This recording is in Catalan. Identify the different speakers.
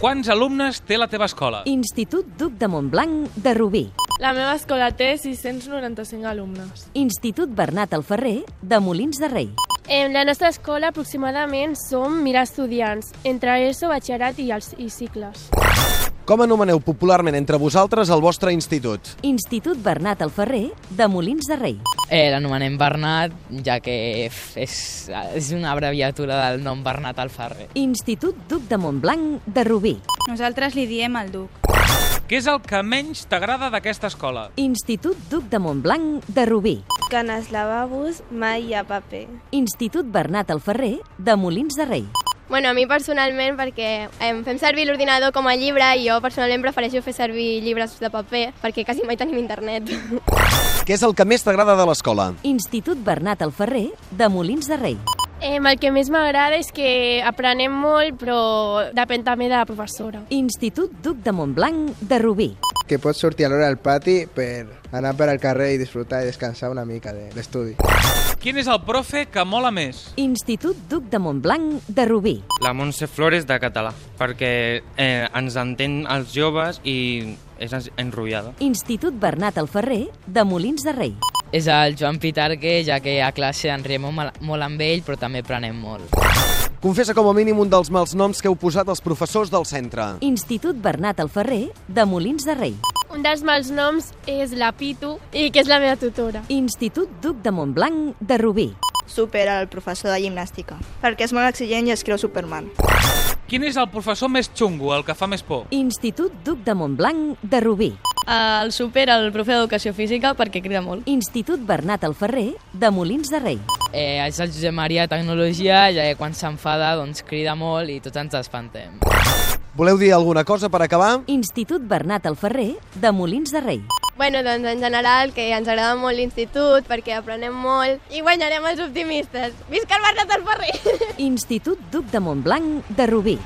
Speaker 1: Quants alumnes té la teva escola?
Speaker 2: Institut Duc de Montblanc de Rubí.
Speaker 3: La meva escola té 695 alumnes.
Speaker 2: Institut Bernat Alferrer de Molins de Rei.
Speaker 4: En la nostra escola aproximadament som 1000 estudiants, entre ESO, batxillerat i, els, i cicles.
Speaker 5: Com anomeneu popularment entre vosaltres el vostre institut?
Speaker 2: Institut Bernat Alferrer de Molins de Rei.
Speaker 6: Eh, L'anomenem Bernat, ja que f- és, és una abreviatura del nom Bernat Alferrer.
Speaker 2: Institut Duc de Montblanc de Rubí.
Speaker 7: Nosaltres li diem el duc.
Speaker 1: Què és el que menys t'agrada d'aquesta escola?
Speaker 2: Institut Duc de Montblanc de Rubí.
Speaker 8: que en els lavabos mai hi ha paper.
Speaker 2: Institut Bernat Alferrer de Molins de Rei.
Speaker 4: Bueno, a mi personalment, perquè em fem servir l'ordinador com a llibre i jo personalment prefereixo fer servir llibres de paper perquè quasi mai tenim internet.
Speaker 5: Què és el que més t'agrada de l'escola?
Speaker 2: Institut Bernat Alferrer de Molins de Rei.
Speaker 3: Em, el que més m'agrada és que aprenem molt, però depèn també de la professora.
Speaker 2: Institut Duc de Montblanc de Rubí.
Speaker 9: que pots sortir alhora al pati per anar per al carrer i disfrutar i descansar una mica de l'estudi.
Speaker 1: Quin és el profe que mola més?
Speaker 2: Institut Duc de Montblanc de Rubí.
Speaker 10: La Montse Flores de català, perquè eh, ens entén els joves i és ens- enrotllada.
Speaker 2: Institut Bernat Alferrer de Molins de Rei.
Speaker 6: És el Joan Pitarque, ja que a classe ens riem molt, molt amb ell, però també aprenem molt.
Speaker 5: Confessa com a mínim un dels mals noms que heu posat als professors del centre.
Speaker 2: Institut Bernat Alferrer de Molins de Rei.
Speaker 3: Un dels mals noms és la Pitu, i que és la meva tutora.
Speaker 2: Institut Duc de Montblanc de Rubí.
Speaker 8: Supera el professor de gimnàstica, perquè és molt exigent i es creu Superman.
Speaker 1: Quin és el professor més xungo, el que fa més por?
Speaker 2: Institut Duc de Montblanc de Rubí.
Speaker 7: Ah, El supera el profe d'educació física perquè crida molt.
Speaker 2: Institut Bernat Alferrer de Molins de Rei.
Speaker 6: Eh, és el Josep Maria de Tecnologia, ja que quan s'enfada doncs, crida molt i tots ens espantem.
Speaker 5: Voleu dir alguna cosa per acabar?
Speaker 2: Institut Bernat Alferrer de Molins de Rei.
Speaker 4: bueno, doncs en general que ens agrada molt l'institut perquè aprenem molt i guanyarem els optimistes. Visca el Bernat del Ferrer!
Speaker 2: Institut Duc de Montblanc de Rubí.